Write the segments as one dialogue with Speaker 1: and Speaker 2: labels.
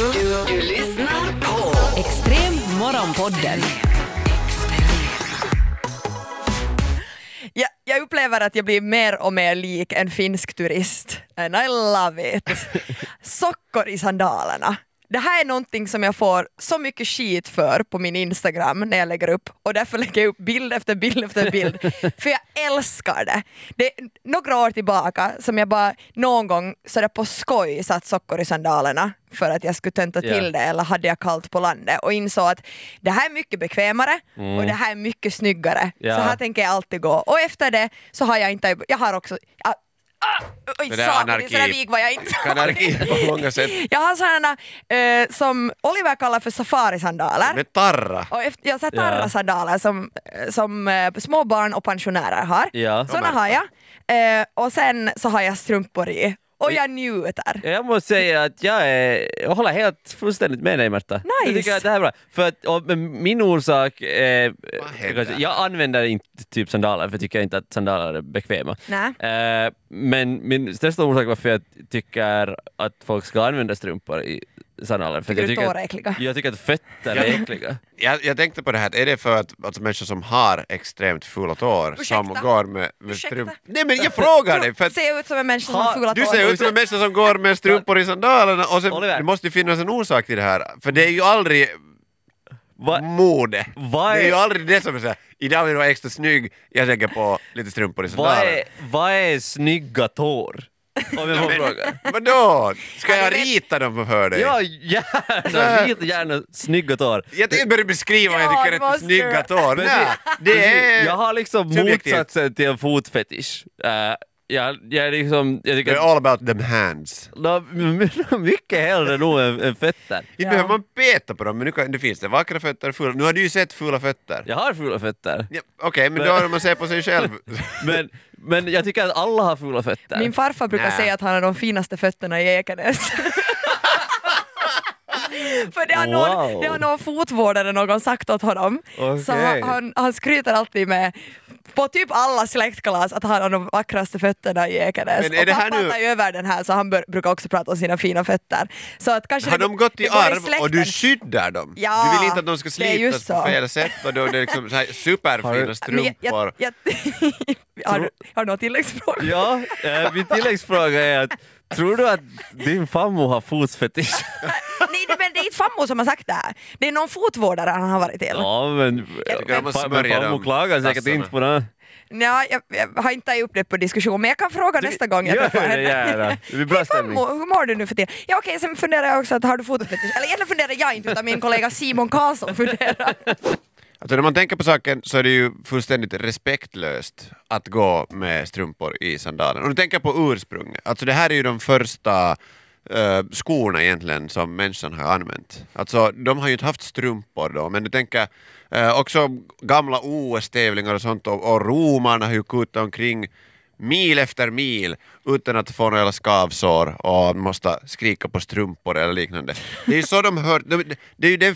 Speaker 1: Du lyssnar på
Speaker 2: Extrem morgonpodden.
Speaker 3: Ja, jag upplever att jag blir mer och mer lik en finsk turist. And I love it. Sockor i sandalerna. Det här är någonting som jag får så mycket skit för på min Instagram när jag lägger upp och därför lägger jag upp bild efter bild efter bild. för jag älskar det. det är några år tillbaka som jag bara någon gång sådär på skoj satt sockor i sandalerna för att jag skulle tönta till
Speaker 4: Ja.
Speaker 3: det eller hade jag kallt på landet och insåg att det här är mycket bekvämare och det här är mycket snyggare.
Speaker 4: Ja.
Speaker 3: Så här tänker jag alltid gå. Och efter det så har jag inte... Jag har också... Jag, ah, oj,
Speaker 4: Det där är
Speaker 3: satan,
Speaker 4: anarki.
Speaker 3: sån där vik var jag inte.
Speaker 4: Anarki på många sätt.
Speaker 3: Jag har sådana eh, som Oliver kallar för safarisandaler.
Speaker 4: Men tarra.
Speaker 3: Och efter, jag har
Speaker 4: Ja.
Speaker 3: tarrasandaler som, eh, som eh, små barn och pensionärer har.
Speaker 4: Ja. Oh
Speaker 3: Såna har jag. Eh, och sen så har jag strumpor i. Och jag njuter.
Speaker 5: Jag måste säga att jag, är, jag håller helt fullständigt med dig Märta. Jag
Speaker 3: Nice.
Speaker 5: tycker att det här är bra. För att, och, men min orsak, eh,
Speaker 4: händer?
Speaker 5: kanske- jag använder inte typ sandaler för jag tycker inte att sandaler är bekväma.
Speaker 3: Nej.
Speaker 5: Eh, men min största orsak varför jag tycker att folk ska använda strumpor i sandaler. För att
Speaker 3: Tycker
Speaker 5: jag,
Speaker 3: du
Speaker 5: tycker
Speaker 3: tår är äckliga?
Speaker 5: att, jag tycker att fötter
Speaker 4: Ja.
Speaker 5: är äckliga.
Speaker 4: Jag, jag tänkte på det här, är det för att alltså, människor som har extremt fula tår som
Speaker 3: Ursäkta?
Speaker 4: går med, med
Speaker 3: Ursäkta?
Speaker 4: strumpor... Nej men jag frågar dig! För
Speaker 3: Du
Speaker 4: att
Speaker 3: ser ut som en människa som
Speaker 5: Ha-
Speaker 3: har fula
Speaker 4: du
Speaker 3: tår.
Speaker 4: ser ut som en människa som går med strumpor i sandalerna och sen,
Speaker 5: Oliver.
Speaker 4: det måste ju finnas en orsak till det här, för det är ju aldrig
Speaker 5: Va,
Speaker 4: mode.
Speaker 5: Vad
Speaker 4: Det är ju
Speaker 5: är-
Speaker 4: aldrig det som är såhär, idag vill jag vara extra snygg, jag lägger på lite strumpor i
Speaker 5: vad,
Speaker 4: sandaler.
Speaker 5: är, vad är snygga tår? Om jag får fråga.
Speaker 4: Vadå? Ska
Speaker 3: Ja,
Speaker 4: jag
Speaker 3: du vet-
Speaker 4: rita dem för dig?
Speaker 5: Ja, gärna! Lite gärna snygga tår.
Speaker 4: Jag tänkte börja beskriva vad
Speaker 3: Ja,
Speaker 4: jag
Speaker 3: det
Speaker 4: tycker är
Speaker 3: måste
Speaker 4: snygga
Speaker 3: du.
Speaker 4: tår. Nej, det är...
Speaker 5: Jag har liksom
Speaker 4: subjektivt.
Speaker 5: motsatsen till en fotfetisch. Eh, jag, jag är liksom, jag
Speaker 4: You're
Speaker 5: tycker
Speaker 4: all about them hands.
Speaker 5: att mycket hellre nog än, än fötter.
Speaker 4: Inte
Speaker 3: Ja.
Speaker 4: behöver man peta på dem, men nu, kan, nu finns det vackra fötter och fula. Nu har du ju sett fula fötter.
Speaker 5: Jag har fula fötter.
Speaker 4: Ja, Okej, men då har man sett på sig själv.
Speaker 5: Men, men jag tycker att alla har fula fötter.
Speaker 3: Min farfar brukar
Speaker 4: Nä.
Speaker 3: säga att han har de finaste fötterna i Ekenäs. För det har, någon,
Speaker 5: Wow.
Speaker 3: det har någon fotvårdare någon sagt åt honom. Så han,
Speaker 5: Okej.
Speaker 3: han, han skryter alltid med, på typ alla släktkalas, att han har de vackraste fötterna i Ekenäs.
Speaker 4: Men är
Speaker 3: Och
Speaker 4: det här
Speaker 3: pappa
Speaker 4: nu-
Speaker 3: tar ju över den här så han bör, brukar också prata om sina fina fötter. Så att kanske
Speaker 4: har
Speaker 3: det-
Speaker 4: de gått
Speaker 3: det
Speaker 4: i
Speaker 3: går
Speaker 4: arv och
Speaker 3: släkten.
Speaker 4: du skyddar dem?
Speaker 3: Ja,
Speaker 4: du vill inte att de ska
Speaker 3: det är
Speaker 4: slitas
Speaker 3: just
Speaker 4: på
Speaker 3: så.
Speaker 4: fel sätt och då är det liksom så här superfina
Speaker 3: Men jag- jag-
Speaker 4: strumpor.
Speaker 3: jag- Har du- har du någon tilläggsfråga?
Speaker 5: Ja, eh, min tilläggsfråga är att tror du att din farmor har fotfetisch?
Speaker 3: Nej det- men det är inte Fammo som har sagt det här. Det är någon fotvårdare han har varit till.
Speaker 5: Ja, men,
Speaker 4: tycker de måste
Speaker 5: fa- men
Speaker 4: smörja
Speaker 5: farmor
Speaker 4: de
Speaker 5: klagar säkert
Speaker 4: tassarna.
Speaker 5: inte på det.
Speaker 3: Nej, jag, jag har inte tagit upp det på diskussion, men jag kan fråga nästa gång jag
Speaker 5: Gör
Speaker 3: träffar
Speaker 5: det gärna. Det blir bra
Speaker 3: Hej
Speaker 5: stämning.
Speaker 3: farmor, hur mår du nu för tiden? Ja okej, sen funderar jag också att har du fotofetisch? Eller egentligen funderar jag inte utan min kollega Simon Karlsson funderar.
Speaker 4: Alltså när man tänker på saken så är det ju fullständigt respektlöst att gå med strumpor i sandalen. Och du tänker på ursprung. Alltså det här är ju de första eh, skorna egentligen som människan har använt. Alltså de har ju inte haft strumpor då, men du tänker eh, också gamla OS-tävlingar och sånt och, och romarna har ju kutat omkring mil efter mil utan att få några skavsår och måste skrika på strumpor eller liknande. Det är ju så de hör, de, det är ju den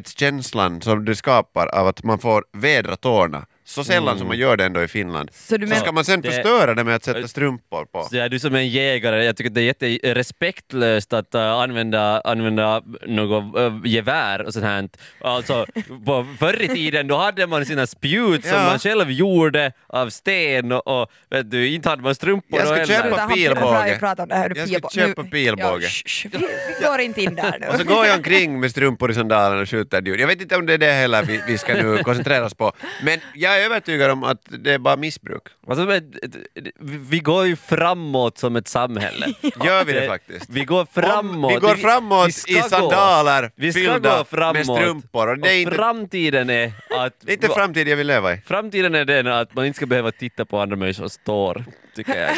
Speaker 4: frihetskänslan som det skapar av att man får vädra tårna så sällan som man gör det ändå i Finland.
Speaker 3: Så
Speaker 4: Så,
Speaker 3: du menar-
Speaker 4: ska man sen
Speaker 5: Det-
Speaker 4: förstöra Mm. det med att sätta strumpor på.
Speaker 5: Så är du som en jägare, jag tycker det är jätterespektlöst att äh, använda, använda något äh, gevär och sånt här. Alltså, på förr i tiden då hade man sina spjut som
Speaker 4: Ja.
Speaker 5: man själv gjorde av sten och, och vet du, inte hade man strumpor
Speaker 4: Jag ska
Speaker 5: och
Speaker 4: köpa-
Speaker 3: Utan han-
Speaker 4: pilbåge.
Speaker 3: han pratar ju- pratar om det här.
Speaker 4: Jag ska
Speaker 3: pilbå-
Speaker 4: köpa
Speaker 3: nu-
Speaker 4: pilbåge.
Speaker 3: Ja, sh, sh, vi, vi går inte in där nu.
Speaker 4: Och så går jag omkring med strumpor i sandalerna och skjuter djur. Jag vet inte om det är det heller vi, vi ska nu koncentrera oss på. Men jag är övertygad om att det är bara missbruk.
Speaker 5: Alltså, men, vi- vi går ju framåt som ett samhälle. Eh,
Speaker 4: Gör vi det faktiskt?
Speaker 5: Vi går
Speaker 4: Om
Speaker 5: framåt.
Speaker 4: Vi går
Speaker 5: Vi-
Speaker 4: framåt
Speaker 5: vi ska
Speaker 4: i
Speaker 5: gå.
Speaker 4: sandaler
Speaker 5: Vi ska
Speaker 4: fyllda
Speaker 5: gå framåt.
Speaker 4: med strumpor. Och det är inte,
Speaker 5: framtiden är att...
Speaker 4: det är inte framtid jag vill leva i.
Speaker 5: Framtiden är den att man inte ska behöva titta på andra människors tår, tycker jag.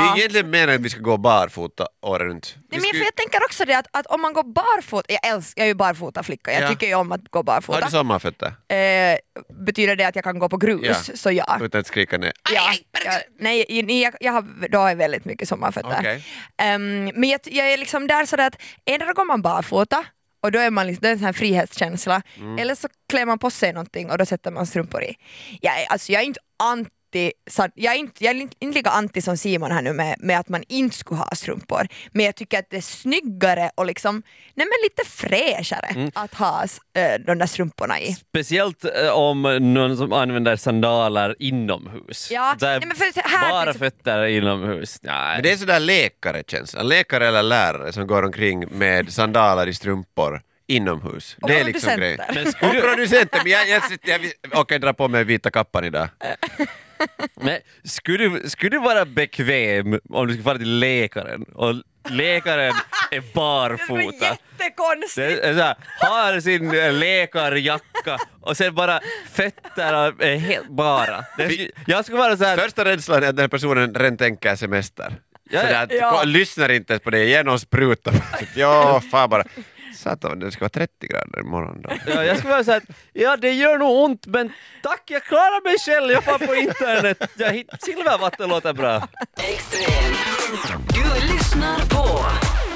Speaker 4: Vi egentligen menar att vi ska gå barfota året runt. Vi
Speaker 3: Nej, men
Speaker 4: ska
Speaker 3: för
Speaker 4: ju-
Speaker 3: jag tänker också det att, att om man går barfota, jag älskar, jag är ju barfota flicka, jag
Speaker 4: Ja.
Speaker 3: tycker ju om att gå
Speaker 4: Har du
Speaker 3: barfota.
Speaker 4: sommarfötter?
Speaker 3: Eh, betyder det att jag kan gå på grus?
Speaker 4: Ja.
Speaker 3: Så ja.
Speaker 4: Utan att skrika ner.
Speaker 3: Ja, jag, nej, i- ni- jag, jag har då är väldigt mycket sommarfötter.
Speaker 4: Okej.
Speaker 3: Ehm, men jag, jag är liksom där sådär att ändå går man barfota och då är man liksom, det är en sån här
Speaker 4: Mm.
Speaker 3: frihetskänsla. Eller så klär man på sig någonting och då sätter man strumpor i. Jag är, alltså jag är inte anti anti, sa- jag är, inte, jag är inte inte lika anti som Simon här nu med, med att man inte skulle ha strumpor, men jag tycker att det är snyggare och liksom, nej men lite fräschare
Speaker 4: Mm.
Speaker 3: att ha eh, de där strumporna i.
Speaker 5: Speciellt eh, om någon som använder sandaler inomhus.
Speaker 3: Ja,
Speaker 5: Där
Speaker 3: nej, men för att här
Speaker 5: bara
Speaker 3: till exempel-
Speaker 5: fötter inomhus. Nej.
Speaker 4: Men det är sådär läkarekänsla, läkare eller lärare som går omkring med sandaler i strumpor inomhus.
Speaker 3: Och
Speaker 4: det är liksom
Speaker 3: producenter.
Speaker 4: grejen.
Speaker 5: Men
Speaker 4: Och
Speaker 5: skulle-
Speaker 4: producenter, men jag, jag, sitter- jag, jag orkar dra på mig vita kappan idag.
Speaker 5: Men skulle, du- skulle du vara bekväm om du skulle fara till läkaren och läkaren är
Speaker 3: Det var
Speaker 5: barfota? Det
Speaker 3: jättekonstigt!
Speaker 5: är så här, har sin eh, läkarjacka och sen bara fötterna är helt bara. Det skulle- Jag skulle vara så här,
Speaker 4: Största rädslan är att den här personen redan tänker semester.
Speaker 5: Ja,
Speaker 4: Sådär att,
Speaker 3: ja.
Speaker 4: ko- lyssnar inte ens på det igen och sprutar. ja, fan bara. Satan, det ska vara 30 grader imorgon då.
Speaker 5: ja, jag skulle vara så här, ja det gör nog ont men tack jag klarar mig själv, jag far på internet. Jag hitt, silvervatten låter bra.
Speaker 2: Extrem. Du lyssnar på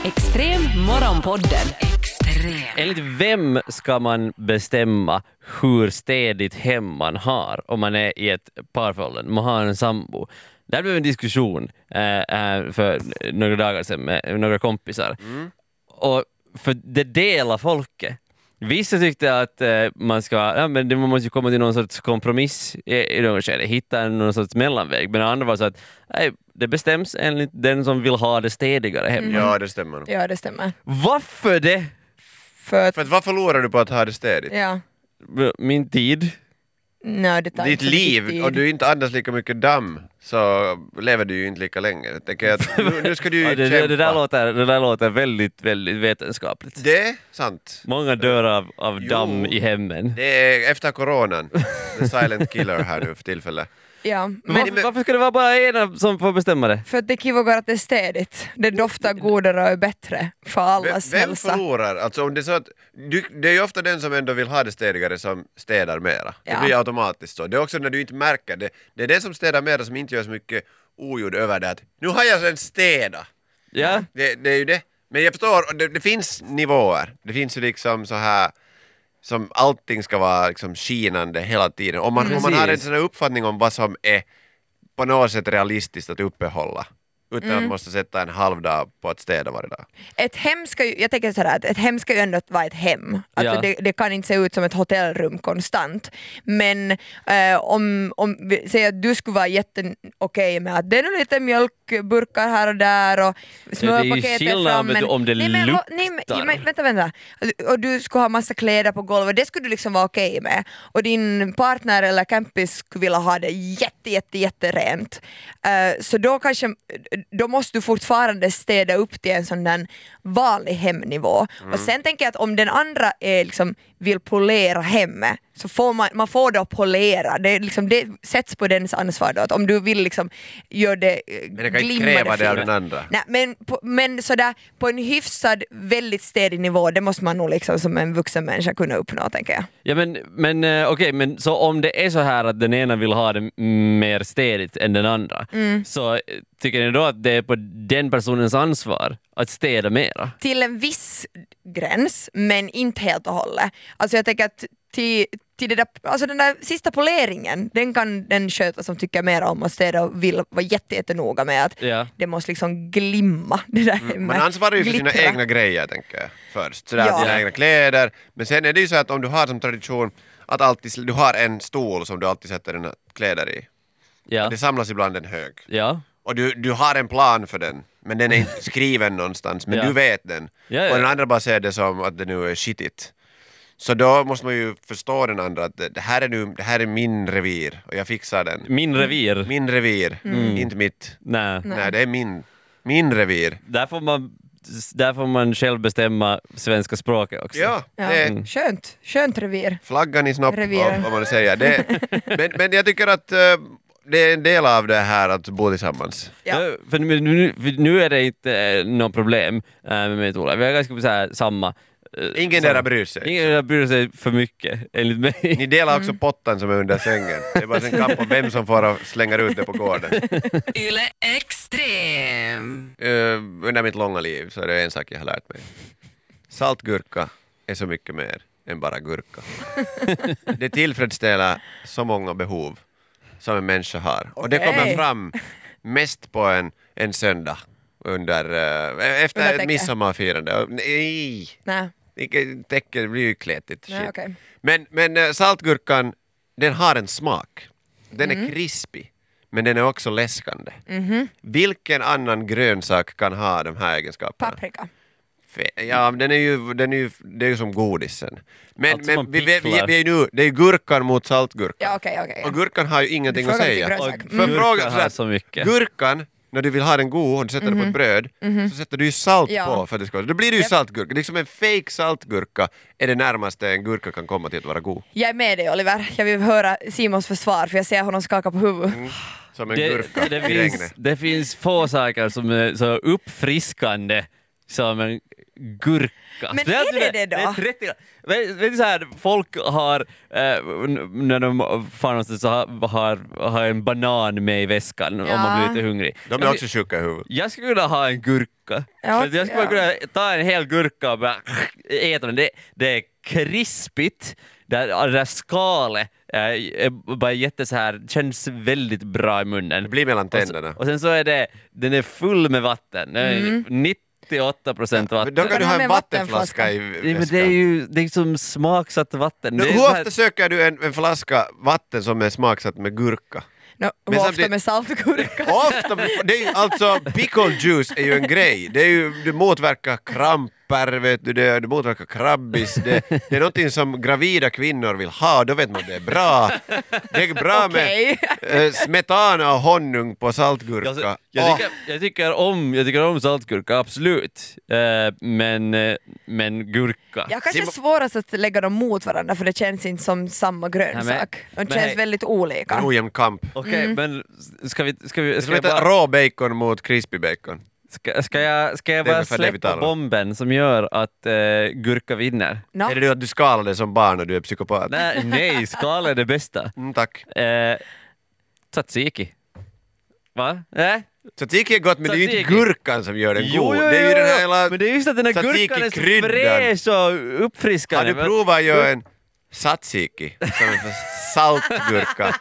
Speaker 2: Extrem Morgonpodden. Extrem.
Speaker 5: Enligt vem ska man bestämma hur städigt hem man har om man är i ett parförhållande, man har en sambo? Det här blev en diskussion eh, eh, för några dagar sedan med några kompisar. Och för det delar folket. Vissa tyckte att eh, man ska, ja, men det- man måste ju komma till någon sorts kompromiss i, i något skede, hitta någon sorts mellanväg. Men andra var så att nej, det bestäms enligt den som vill ha det städigare hemma.
Speaker 4: Ja, det stämmer nog.
Speaker 3: Ja det stämmer.
Speaker 5: Varför det?
Speaker 3: För att,
Speaker 4: För att vad förlorar du på att ha det städigt?
Speaker 3: ja,
Speaker 5: Min tid.
Speaker 3: nej det tar
Speaker 4: Ditt
Speaker 3: inte så mycket
Speaker 4: liv,
Speaker 3: tid.
Speaker 4: och du inte andas lika mycket damm så lever du ju inte lika länge. Jag tänker att nu, nu ska du ju
Speaker 5: Ja, det,
Speaker 4: kämpa.
Speaker 5: det, det, där låter, det där låter väldigt, väldigt vetenskapligt.
Speaker 4: Det är sant.
Speaker 5: Många dör av, av
Speaker 4: Jo.
Speaker 5: damm i hemmen.
Speaker 4: Det är efter coronan, the silent killer här nu för tillfället.
Speaker 3: Ja,
Speaker 5: Men,
Speaker 3: men
Speaker 5: varför, varför ska det vara bara ena som får bestämma det?
Speaker 3: för att det kivogar att det är städigt. Det doftar godare och är bättre för
Speaker 4: Vem,
Speaker 3: allas
Speaker 4: vem
Speaker 3: hälsa.
Speaker 4: förlorar? Alltså om det är så att, du, det är ju ofta den som ändå vill ha det städigare som städar mera.
Speaker 3: Ja.
Speaker 4: Det blir automatiskt så. Det är också när du inte märker det. Det är den som städar mera som inte gör så mycket ogjord över det att nu har jag sen städat.
Speaker 5: Ja,
Speaker 4: Det, det är ju det. Men jag förstår, och det, det finns nivåer. Det finns ju liksom så här som allting ska vara liksom skinande hela tiden. Om man, om man har en
Speaker 5: Precis.
Speaker 4: sån här uppfattning om vad som är på något sätt realistiskt att uppehålla. Utan
Speaker 5: Mm.
Speaker 4: att man måste sätta en halv dag på att städa varje dag.
Speaker 3: Ett hem ska ju, jag tänker sådär att ett hem ska ju ändå vara ett hem. Alltså
Speaker 5: Ja.
Speaker 3: det, det kan inte se ut som ett hotellrum konstant. Men eh, om, om vi säger att du skulle vara jätteokej med att det är nog lite mjölkburkar här och där och smörpaketet
Speaker 5: skillnad
Speaker 3: fram.
Speaker 5: om det- om det
Speaker 3: nej, men, lo- nej,
Speaker 5: luktar.
Speaker 3: men, men, vänta, vänta. Och du skulle ha massa kläder på golvet, det skulle du liksom vara okej med. Och din partner eller campis skulle vilja ha det jätte, jätte, jätterent. Eh, så då kanske, då måste du fortfarande städa upp till en sån där vanlig hemnivå.
Speaker 4: Mm.
Speaker 3: Och sen tänker jag att om den andra är liksom, vill polera hemmet så får man, man får det att polera, det, är liksom, det sätts på dens ansvar då. Att om du vill liksom göra det eh,
Speaker 4: Men jag kan inte
Speaker 3: glimmade
Speaker 4: kräva det av
Speaker 3: fint.
Speaker 4: den andra.
Speaker 3: Nej, men, på, men sådär på en hyfsad, väldigt städig nivå, det måste man nog liksom som en vuxen människa kunna uppnå tänker jag.
Speaker 5: ja men, men eh, okej, men så om det är så här att den ena vill ha det mer städigt än den andra,
Speaker 4: Mm.
Speaker 5: så eh, tycker ni då att det är på den personens ansvar att städa mera?
Speaker 3: Till en viss gräns, men inte helt och hållet. Alltså jag tänker att till, till det där, alltså den där sista poleringen, den kan den sköta som tycker mer om att städa och vill vara jätte, jättenoga med att
Speaker 5: Ja.
Speaker 3: det måste liksom glimma det där
Speaker 5: Mm.
Speaker 3: hemmet.
Speaker 4: Man ansvarar ju för sina
Speaker 3: Glittra.
Speaker 4: egna grejer, tänker jag, först. Sådär,
Speaker 3: Ja.
Speaker 4: dina egna kläder. Men sen är det ju så att om du har som tradition att alltid, du har en stol som du alltid sätter dina kläder i.
Speaker 5: Ja.
Speaker 4: Det samlas ibland en hög.
Speaker 5: Ja.
Speaker 4: Och du, du har en plan för den, men den är inte skriven någonstans, men
Speaker 5: Ja.
Speaker 4: du vet den.
Speaker 5: Ja, ja.
Speaker 4: Och den andra bara ser det som att det nu är shitigt. Så då måste man ju förstå den andra att det det här är, nu, det här är min revir och jag fixar den.
Speaker 5: Min revir?
Speaker 4: Mm. Min revir, inte mitt.
Speaker 5: Mm. Nej.
Speaker 4: Nej. det är min, min revir.
Speaker 5: Där, får man, där får man själv bestämma svenska språket också.
Speaker 4: Ja,
Speaker 3: Ja.
Speaker 4: det är
Speaker 3: Mm. Skönt, skönt revir.
Speaker 4: flaggan i snopp,
Speaker 3: Revir.
Speaker 4: vad vad man säger. Det, men, men jag tycker att eh, det är en del av det här att bo tillsammans.
Speaker 3: Ja.
Speaker 5: Ja. Eh, För, nu, nu- för nu är det inte eh, något problem eh, med mig och Ola. Vi är ganska så här, samma. eh,
Speaker 4: Ingen
Speaker 5: samma-
Speaker 4: där bryr sig.
Speaker 5: Ingen där bryr sig för mycket, enligt mig.
Speaker 4: Ni delar också
Speaker 3: Mm.
Speaker 4: potten som är under sängen. Det är bara en kamp om vem som får och slänger ut det på gården.
Speaker 2: Yle Extrem.
Speaker 4: Eh, under mitt långa liv så är det en sak jag har lärt mig. Saltgurka är så mycket mer än bara gurka. det tillfredsställer så många behov som en människa har. Och det
Speaker 3: Okej.
Speaker 4: kommer fram mest på en, en söndag under, eh, efter
Speaker 3: Under
Speaker 4: ett
Speaker 3: täcket.
Speaker 4: midsommarfirande. Och- Nej!
Speaker 3: Nej.
Speaker 4: Icke- Täcker blir ju kletigt.
Speaker 3: Nej,
Speaker 4: shit.
Speaker 3: okej.
Speaker 4: Men, men eh, saltgurkan, den har en smak. Den
Speaker 3: Mhm.
Speaker 4: är krispig, men den är också läskande. Vilken annan grönsak kan ha de här egenskaperna?
Speaker 3: Paprika.
Speaker 4: Fe- Ja, men den är ju, den är ju, det är ju som godisen. Men,
Speaker 5: Allt Alltså
Speaker 4: men
Speaker 5: som man
Speaker 4: vi, vi, vi,
Speaker 5: picklar.
Speaker 4: vi är ju nu, det är ju gurkan mot saltgurkan.
Speaker 3: Ja, okej, okej.
Speaker 4: Och gurkan har ju ingenting
Speaker 3: Du
Speaker 4: att
Speaker 3: frågar inte
Speaker 4: säga.
Speaker 3: grönsak.
Speaker 5: Och
Speaker 3: Mm.
Speaker 5: gurka
Speaker 4: Förfrågan
Speaker 5: har
Speaker 4: sådär,
Speaker 5: så mycket.
Speaker 4: Gurkan, när du vill ha den god och du sätter den på ett bröd, så sätter du ju salt
Speaker 3: Mm-hmm. Ja.
Speaker 4: på för att det ska vara... Då blir det ju saltgurka. Liksom en fake saltgurka är det närmaste en gurka kan komma till att vara god.
Speaker 3: Jag är med dig Oliver, jag vill höra Simons försvar för jag ser honom skaka på huvudet.
Speaker 4: Mm. Som en gurka
Speaker 5: Det, det,
Speaker 4: i
Speaker 5: finns,
Speaker 4: regnet.
Speaker 5: det finns få saker som är så uppfriskande som en gurka.
Speaker 3: Men
Speaker 5: Speciellt
Speaker 3: är det det
Speaker 5: när
Speaker 3: då?
Speaker 5: Det är 30, vet, vet du så här, folk har, eh, n- när de far någonstans så har, har, har en banan med i väskan
Speaker 3: Ja.
Speaker 5: om man blir lite hungrig.
Speaker 4: De är också sjuka i huvudet.
Speaker 5: Jag skulle kunna ha en gurka.
Speaker 3: Ja,
Speaker 5: För att jag skulle
Speaker 3: ja.
Speaker 5: kunna ta en hel gurka och bara äta den. Det, det är krispigt. Det, här- det där skalet eh, är bara jätte så här, känns väldigt bra i munnen.
Speaker 4: Det blir mellan
Speaker 5: Och så-
Speaker 4: tänderna.
Speaker 5: Alltså, Och sen så är det, den är full med vatten. Den är
Speaker 3: Mm.
Speaker 5: 98 procent
Speaker 4: Men
Speaker 5: vatten.
Speaker 4: Då kan du
Speaker 3: ha
Speaker 4: ha
Speaker 3: med
Speaker 4: en
Speaker 3: en
Speaker 4: vattenflaska i
Speaker 5: det, men det är
Speaker 4: väskan.
Speaker 5: ju det är som smaksatt vatten.
Speaker 4: Nå,
Speaker 5: det är
Speaker 4: Hur
Speaker 5: så här-
Speaker 4: ofta söker du en, en flaska vatten som är smaksatt med gurka?
Speaker 3: No,
Speaker 4: Men
Speaker 3: hur ofta
Speaker 4: samtidigt-
Speaker 3: med saltgurka?
Speaker 4: Ofta, det är, ju- alltså pickle juice är ju en grej, det, är ju, det motverkar kramper, vet du, det, det motverkar krabbis, det, det är någonting som gravida kvinnor vill ha, då vet man att det är bra. Det är bra
Speaker 3: Okej.
Speaker 4: med eh, smetana och honung på saltgurka.
Speaker 5: Jag, jag, tycker,
Speaker 4: Åh,
Speaker 5: jag, tycker om, jag tycker om saltgurka, absolut. Eh, men, eh, men gurka.
Speaker 3: Jag kanske är
Speaker 4: Simon-
Speaker 3: svårast att lägga dem mot varandra för det känns inte som samma grönsak.
Speaker 5: men-
Speaker 3: De känns
Speaker 5: men-
Speaker 3: väldigt
Speaker 4: en
Speaker 3: olika.
Speaker 4: ojämn kamp.
Speaker 5: Okej, men ska vi... Ska, vi,
Speaker 4: Ska
Speaker 5: ska,
Speaker 4: vi
Speaker 5: jag,
Speaker 4: ta
Speaker 5: bara,
Speaker 4: rå bacon mot crispy bacon?
Speaker 5: ska, ska jag, ska jag
Speaker 4: Det är
Speaker 5: bara
Speaker 4: ungefär det vi
Speaker 5: släppa
Speaker 4: talar om.
Speaker 5: bomben som gör att eh, gurka vinner?
Speaker 3: No.
Speaker 4: Är det du att du skalade som barn och du är psykopat?
Speaker 5: Nej, nej skal är det bästa.
Speaker 4: Mm, tack.
Speaker 5: Eh, tzatziki. Va? Eh? Nej?
Speaker 4: Tzatziki är gott men det är ju inte
Speaker 5: Tzatziki.
Speaker 4: gurkan som gör den god. det är ju den här hela...
Speaker 5: Men det är just att den här gurkan är så
Speaker 4: tzatziki-kryddan.
Speaker 5: fräsch och
Speaker 4: Har
Speaker 5: uppfriskande.
Speaker 4: du provat att göra en satsiki som är för saltgurka?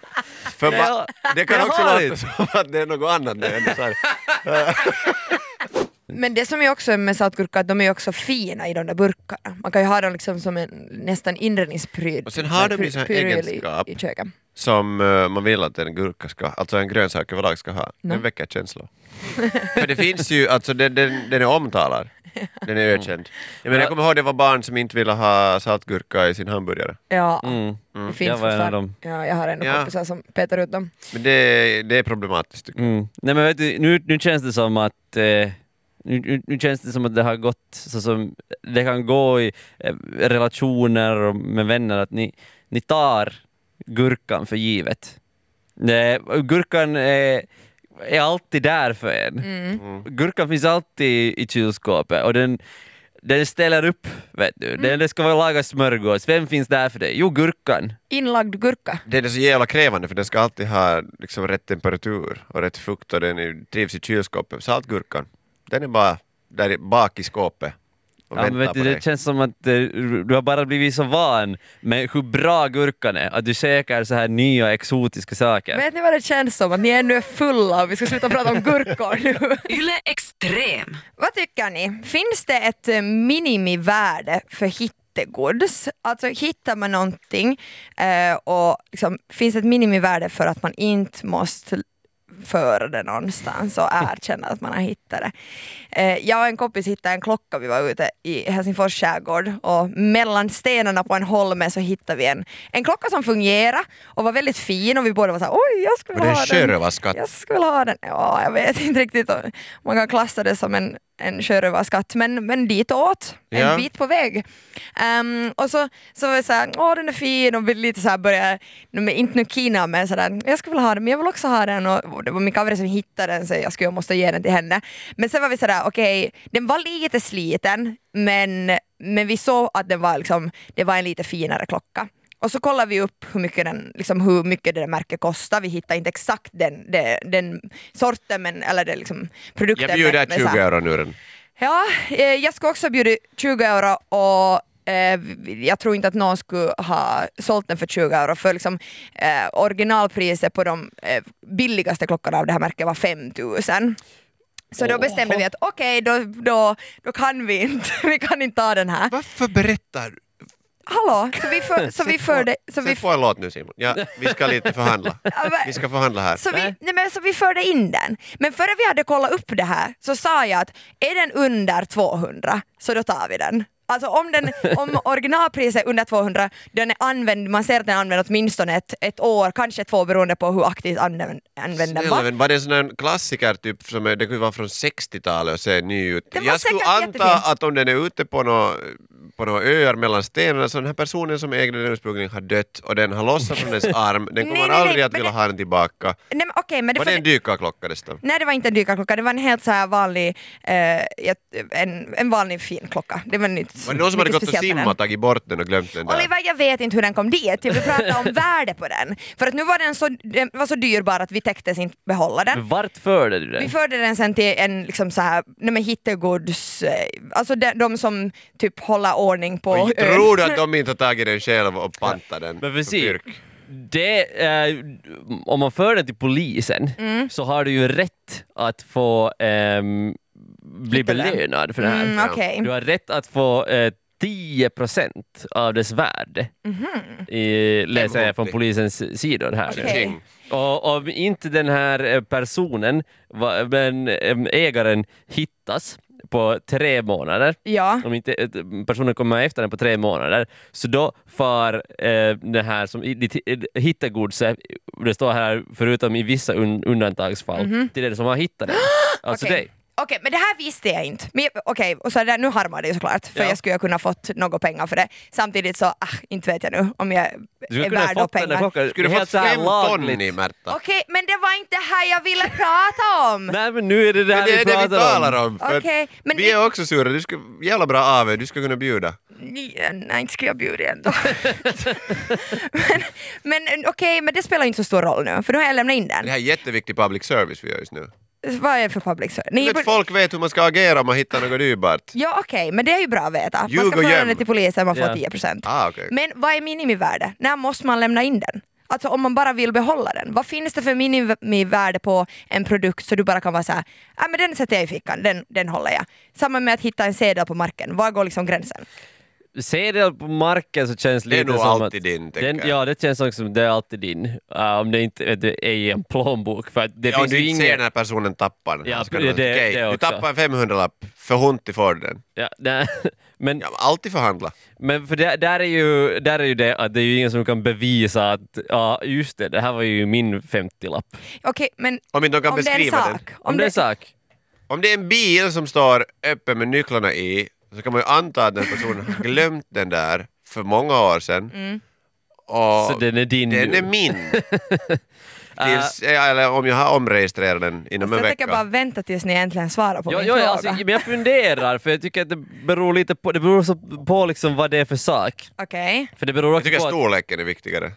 Speaker 4: För
Speaker 5: Nej,
Speaker 4: ba-
Speaker 5: jag-
Speaker 4: det kan
Speaker 5: jag
Speaker 4: också
Speaker 5: har
Speaker 4: låta
Speaker 5: det.
Speaker 4: som att det är något annat. Det är ändå så här.
Speaker 3: Men det som är också med saltgurka att de är ju också fina i de där burkarna. Man kan ju ha dem liksom som en nästan inredningspryd.
Speaker 4: Och sen har de ju sån här
Speaker 3: pryl i-
Speaker 4: egenskap.
Speaker 3: I köket.
Speaker 4: Som eh, man vill att en gurka ska, alltså en grönsak överlag ska ha. Den väcker känslor. För det finns ju, alltså den, den, den är omtalad. Den är ökänd. Jag, menar, jag kommer ihåg det var barn som inte ville ha saltgurka i sin hamburgare.
Speaker 3: Ja,
Speaker 5: Mm.
Speaker 3: det finns
Speaker 5: Jag var en av
Speaker 3: fortfarande.
Speaker 5: dem.
Speaker 3: Ja, jag har ändå
Speaker 4: Ja.
Speaker 3: kompisar som petar ut dem.
Speaker 4: Men det, det är problematiskt tycker jag.
Speaker 5: Mm. Nej men vet du, nu, nu känns det som att eh, nu, nu- nu känns det som att det har gått så som det kan gå i eh, relationer och med vänner att ni, ni tar gurkan för givet. Nej, gurkan är, är alltid där för en.
Speaker 4: Mm.
Speaker 5: Gurkan finns alltid i kylskåpet och den, den ställer upp. Vet du. Den, det ska vara laga smörgås. Vem finns där för dig? Jo, gurkan.
Speaker 3: Inlagd gurka.
Speaker 4: Det är så jävla krävande för den ska alltid ha liksom, rätt temperatur och rätt fukt och den är, trivs i kylskåpet. Saltgurkan, den är bara där i- bak i skåpet och
Speaker 5: Ja, men
Speaker 4: väntar
Speaker 5: vet
Speaker 4: på
Speaker 5: du,
Speaker 4: dig.
Speaker 5: det känns som att eh, du har bara blivit så van med hur bra gurkan är, att du söker så här nya exotiska saker.
Speaker 3: Vet ni vad det känns som? Att ni ännu är fulla och vi ska sluta prata om gurkor nu.
Speaker 2: Yle Extrem.
Speaker 3: Vad tycker ni? Finns det ett eh, minimivärde för hittegods? Alltså hittar man någonting eh, och liksom, finns det ett minimivärde för att man inte måste föra det någonstans och erkänna att man har hittat det. Eh, jag och en kompis hittade en klocka, vi var ute i Helsingfors skärgård och mellan stenarna på en holme så hittade vi en, en klocka som fungerade och var väldigt fin och vi båda var såhär oj jag skulle
Speaker 4: Och den
Speaker 3: vilja ha den.
Speaker 4: sjörövarskatt.
Speaker 3: Jag skulle ha den. Ja, jag vet inte riktigt om man kan klassa det som en, en sjörövarskatt, men, men ditåt, en
Speaker 4: Ja.
Speaker 3: bit på väg. Ehm, och så, så var jag såhär, åh den är fin och vi lite såhär började, nu men inte nu kina men sådär, jag skulle vilja ha den, men jag vill också ha den och det var min kamrat som hittade den så jag skulle jag måste ge den till henne. Men sen var vi sådär, okej, den var lite sliten, men, men vi såg att den var liksom, det var en lite finare klocka. Och så kollar vi upp hur mycket, den, liksom hur mycket det där märket kostar. Vi hittar inte exakt den, den, den sorten, men, eller det liksom produkten.
Speaker 4: Jag bjuder
Speaker 3: men- men så här-
Speaker 4: 20 euro nu den.
Speaker 3: Ja, eh, jag skulle också bjuda 20 euro och Eh, jag tror inte att någon skulle ha sålt den för 20 euro för liksom, eh, originalpriset på de eh, billigaste klockorna av det här märket var 5000. Så då bestämde vi att okej, då, då, då kan vi inte, vi kan inte ta den här.
Speaker 4: Varför berättar du?
Speaker 3: Hallå, så vi, för, så vi förde... Så vi,
Speaker 4: Sätt på en låt nu Simon. Ja, vi ska lite förhandla.
Speaker 3: Ja, men-
Speaker 4: Vi ska förhandla här.
Speaker 3: Så vi, nej men, så vi förde in den. Men före vi hade kollat upp det här så sa jag att är den under 200 så då tar vi den. Alltså om, den, om originalpriset är under 200, den är använd, man ser att den är använd åtminstone ett, ett år, kanske två beroende på hur aktivt använd, använd den
Speaker 4: Snälla
Speaker 3: var.
Speaker 4: vän, var det en sån här klassiker typ som är, det kunde vara från 60-talet och se ny ut?
Speaker 3: Den var
Speaker 4: Jag skulle
Speaker 3: säkert
Speaker 4: anta
Speaker 3: jättefin.
Speaker 4: att om den är ute på några på nå öar mellan stenarna så den här personen som ägde den ursprungligen har dött och den har lossat från dess arm. Den kommer
Speaker 3: Nej, nej, nej,
Speaker 4: aldrig att
Speaker 3: men
Speaker 4: vilja
Speaker 3: det-
Speaker 4: ha den tillbaka.
Speaker 3: Nej, men, okej, men det
Speaker 4: Var
Speaker 3: får-
Speaker 4: det en dykarklocka dessutom?
Speaker 3: Nej det var inte en dykarklocka, det var en helt så här vanlig, eh, jag- en, en vanlig fin klocka. Det var, nytt,
Speaker 4: Var det någon som hade gått och simmat, tagit bort den och glömt den där?
Speaker 3: Oliver, jag vet inte hur den kom dit. Jag vill prata om värde på den. För att nu var den så, den var så dyrbar att vi täcktes inte behålla den.
Speaker 5: Men vart förde du
Speaker 3: Vi
Speaker 5: den?
Speaker 3: förde den sen till en liksom så här, nej men hittegods, eh, alltså de, de som typ håller ordning på
Speaker 4: Och
Speaker 3: ön.
Speaker 4: tror du att de inte har tagit den själv och pantat den?
Speaker 5: Men
Speaker 4: för
Speaker 5: precis,
Speaker 4: kyrk?
Speaker 5: det, eh, om man för den till polisen
Speaker 3: Mm.
Speaker 5: så har du ju rätt att få ehm, bli
Speaker 3: Hitta den.
Speaker 5: belönad för det här.
Speaker 3: Mm, okej.
Speaker 5: Du har rätt att få eh, 10 procent av dess värde, i, läser jag från
Speaker 4: Hemligt.
Speaker 5: polisens sidor här. nu.
Speaker 3: Mhm. Okej.
Speaker 4: Ting.
Speaker 5: Och om inte den här eh, personen, va- men eh, ägaren, hittas på tre månader,
Speaker 3: Ja,
Speaker 5: om inte eh, personen kommer efter den på tre månader, så då far eh, det här som i- ditt hi- hittegodset, det står här förutom i vissa un, undantagsfall, till den som har hittat den. Alltså
Speaker 3: Mhm. okej.
Speaker 5: dig.
Speaker 3: Okej, men det här visste jag inte. Men jag- Okej, och så det där, nu harmar det ju såklart, för
Speaker 5: Ja.
Speaker 3: jag skulle ju ha kunnat fått några pengar för det. Samtidigt så, ah, inte vet jag nu om jag
Speaker 5: Du skulle
Speaker 3: är
Speaker 5: kunna ha
Speaker 3: värd några
Speaker 5: fått den där
Speaker 3: pengar.
Speaker 5: klockan.
Speaker 4: Skulle du fått
Speaker 5: helt så här
Speaker 4: fem ton
Speaker 5: lagligt.
Speaker 4: i Märta?
Speaker 3: Okej, men det var inte det här jag ville prata om!
Speaker 5: Nej men nu är det det här
Speaker 4: Men det är
Speaker 5: vi
Speaker 4: det
Speaker 5: pratar
Speaker 4: vi talar om. för att
Speaker 3: Okej, men
Speaker 4: vi
Speaker 3: i-
Speaker 4: är också sura, du ska, jävla bra AW, du ska kunna bjuda.
Speaker 3: Ja, eh, Nej, inte skulle jag bjuda igen då. men men okej, men det spelar ju inte så stor roll nu, för nu har jag lämnat in den.
Speaker 4: Det här är jätteviktig public service vi gör just nu.
Speaker 3: Vad är det för public service? Nej,
Speaker 4: Men
Speaker 3: men-
Speaker 4: att folk vet hur man ska agera om man hittar något dyrbart.
Speaker 3: Ja okej, men det är ju bra att veta. Man
Speaker 4: Ljug
Speaker 3: ska
Speaker 4: och
Speaker 3: föra
Speaker 4: göm.
Speaker 3: den till polisen, man får
Speaker 5: Ja.
Speaker 3: 10%.
Speaker 4: Ah, okej.
Speaker 3: Men vad är minimivärde? När måste man lämna in den? Alltså om man bara vill behålla den, vad finns det för minimivärde på en produkt så du bara kan vara såhär, ah, men den sätter jag i fickan, den, den håller jag. Samma med att hitta en sedel på marken, var går liksom gränsen?
Speaker 5: Sedel på marken så känns
Speaker 4: Det är
Speaker 5: lite
Speaker 4: nog
Speaker 5: som
Speaker 4: alltid
Speaker 5: att,
Speaker 4: din, tänker
Speaker 5: den,
Speaker 4: jag.
Speaker 5: Ja, det känns också som det är alltid din. Uh, om det inte det är i en plånbok. För att det
Speaker 4: Ja, om
Speaker 5: finns
Speaker 4: du
Speaker 5: ju
Speaker 4: inte ser
Speaker 5: ingen...
Speaker 4: när personen tappar den.
Speaker 5: Ja,
Speaker 4: här, ska
Speaker 5: det-
Speaker 4: du-
Speaker 5: det-
Speaker 4: okej,
Speaker 5: det
Speaker 4: du
Speaker 5: också.
Speaker 4: tappar en 500-lapp, för hont i får du den.
Speaker 5: Ja, nej. Men,
Speaker 4: Ja, men alltid förhandla.
Speaker 5: men för där, där, är ju, där är ju det att det är ju ingen som kan bevisa att ja, just det, det här var ju min 50-lapp.
Speaker 3: Okej, men
Speaker 4: Om inte de kan
Speaker 3: om det är en
Speaker 4: beskriva den.
Speaker 3: sak.
Speaker 5: Om, det är en sak.
Speaker 4: Om det är en bil som står öppen med nycklarna i så kan man ju anta att den personen har glömt den där för många år sedan.
Speaker 3: Mm.
Speaker 4: Och
Speaker 5: Så den är Ah. din
Speaker 4: den
Speaker 5: nu.
Speaker 4: är min. Tills, eller om jag har omregistrerat den inom
Speaker 3: Så
Speaker 4: en
Speaker 3: jag tänker
Speaker 4: vecka.
Speaker 3: bara vänta tills ni äntligen svarar på
Speaker 5: Ja,
Speaker 3: min
Speaker 5: ja,
Speaker 3: fråga.
Speaker 5: alltså, men jag funderar, för jag tycker att det beror lite på, det beror så på liksom vad det är för sak.
Speaker 3: Okej,
Speaker 5: För det beror
Speaker 4: Jag
Speaker 5: också
Speaker 4: tycker
Speaker 5: på att-
Speaker 4: storleken är viktigare.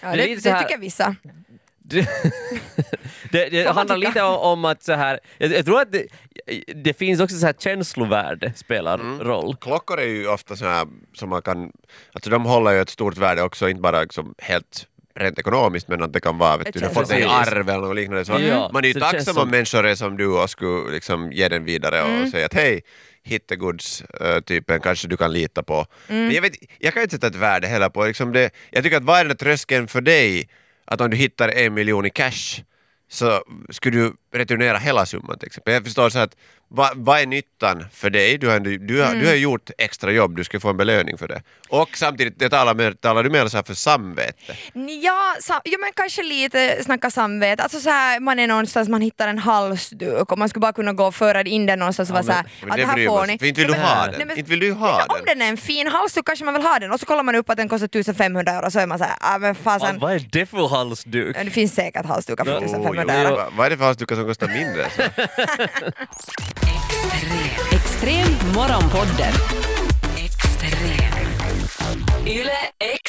Speaker 3: ja,
Speaker 5: Det är
Speaker 3: det,
Speaker 5: lite
Speaker 3: det,
Speaker 5: så här-
Speaker 3: tycker vissa.
Speaker 5: det, det, det
Speaker 3: man
Speaker 5: handlar
Speaker 3: tycka.
Speaker 5: lite om, om att så här, jag, jag tror att det, det finns också så här känslovärde spelar
Speaker 3: Mm.
Speaker 5: roll.
Speaker 4: Klockor är ju ofta så här som man kan, alltså de håller ju ett stort värde också, inte bara liksom helt rent ekonomiskt men att det kan vara, vet
Speaker 3: Ett
Speaker 4: du, du har fått det i
Speaker 5: känslomässigt.
Speaker 4: arv eller något liknande. Så
Speaker 5: Ja,
Speaker 4: man är ju
Speaker 5: så det känns
Speaker 4: tacksam
Speaker 5: som-
Speaker 4: om människor är som du och skulle liksom ge den vidare och
Speaker 3: Mm.
Speaker 4: säga att hej, hittegods-typen kanske du kan lita på.
Speaker 3: Mm.
Speaker 4: Men jag, vet, jag kan inte sätta ett värde heller på, liksom det, jag tycker att vad är den där tröskeln för dig att om du hittar en miljon i cash så skulle du returnera hela summan till exempel. Jag förstår så att va- vad är nyttan för dig? Du har, ändå- du, har, du
Speaker 3: Mm.
Speaker 4: har gjort extra jobb, du ska få en belöning för det. Och samtidigt, det talar, med, talar du mer så här för samvete?
Speaker 3: Ja, sa, ja, men kanske lite snacka samvete. Alltså så här, man är någonstans, man hittar en halsduk och man skulle bara kunna gå och föra in den någonstans och
Speaker 5: Ja,
Speaker 3: vara så här,
Speaker 5: men-
Speaker 4: Men
Speaker 3: att det här
Speaker 4: bryr
Speaker 3: får
Speaker 4: man sig
Speaker 3: ni.
Speaker 4: För inte vill
Speaker 3: Ja,
Speaker 4: du
Speaker 3: men-
Speaker 4: ha
Speaker 3: nej,
Speaker 4: den.
Speaker 3: men-
Speaker 4: Inte vill du ha
Speaker 3: Om
Speaker 4: den.
Speaker 3: den är en fin halsduk kanske man vill ha den och så kollar man upp att den kostar 1500 euro så är man såhär, ah, men
Speaker 5: Ah,
Speaker 3: fasen,
Speaker 5: vad är det för halsduk?
Speaker 3: ja, det finns säkert halsdukar för
Speaker 5: Jo,
Speaker 4: Jo,
Speaker 3: 1500
Speaker 4: jo,
Speaker 3: euro.
Speaker 4: va- Vad är det för halsdukar som kostar mindre? Så?
Speaker 2: Extrem. Extrem morgonpodden. Extrem. Yle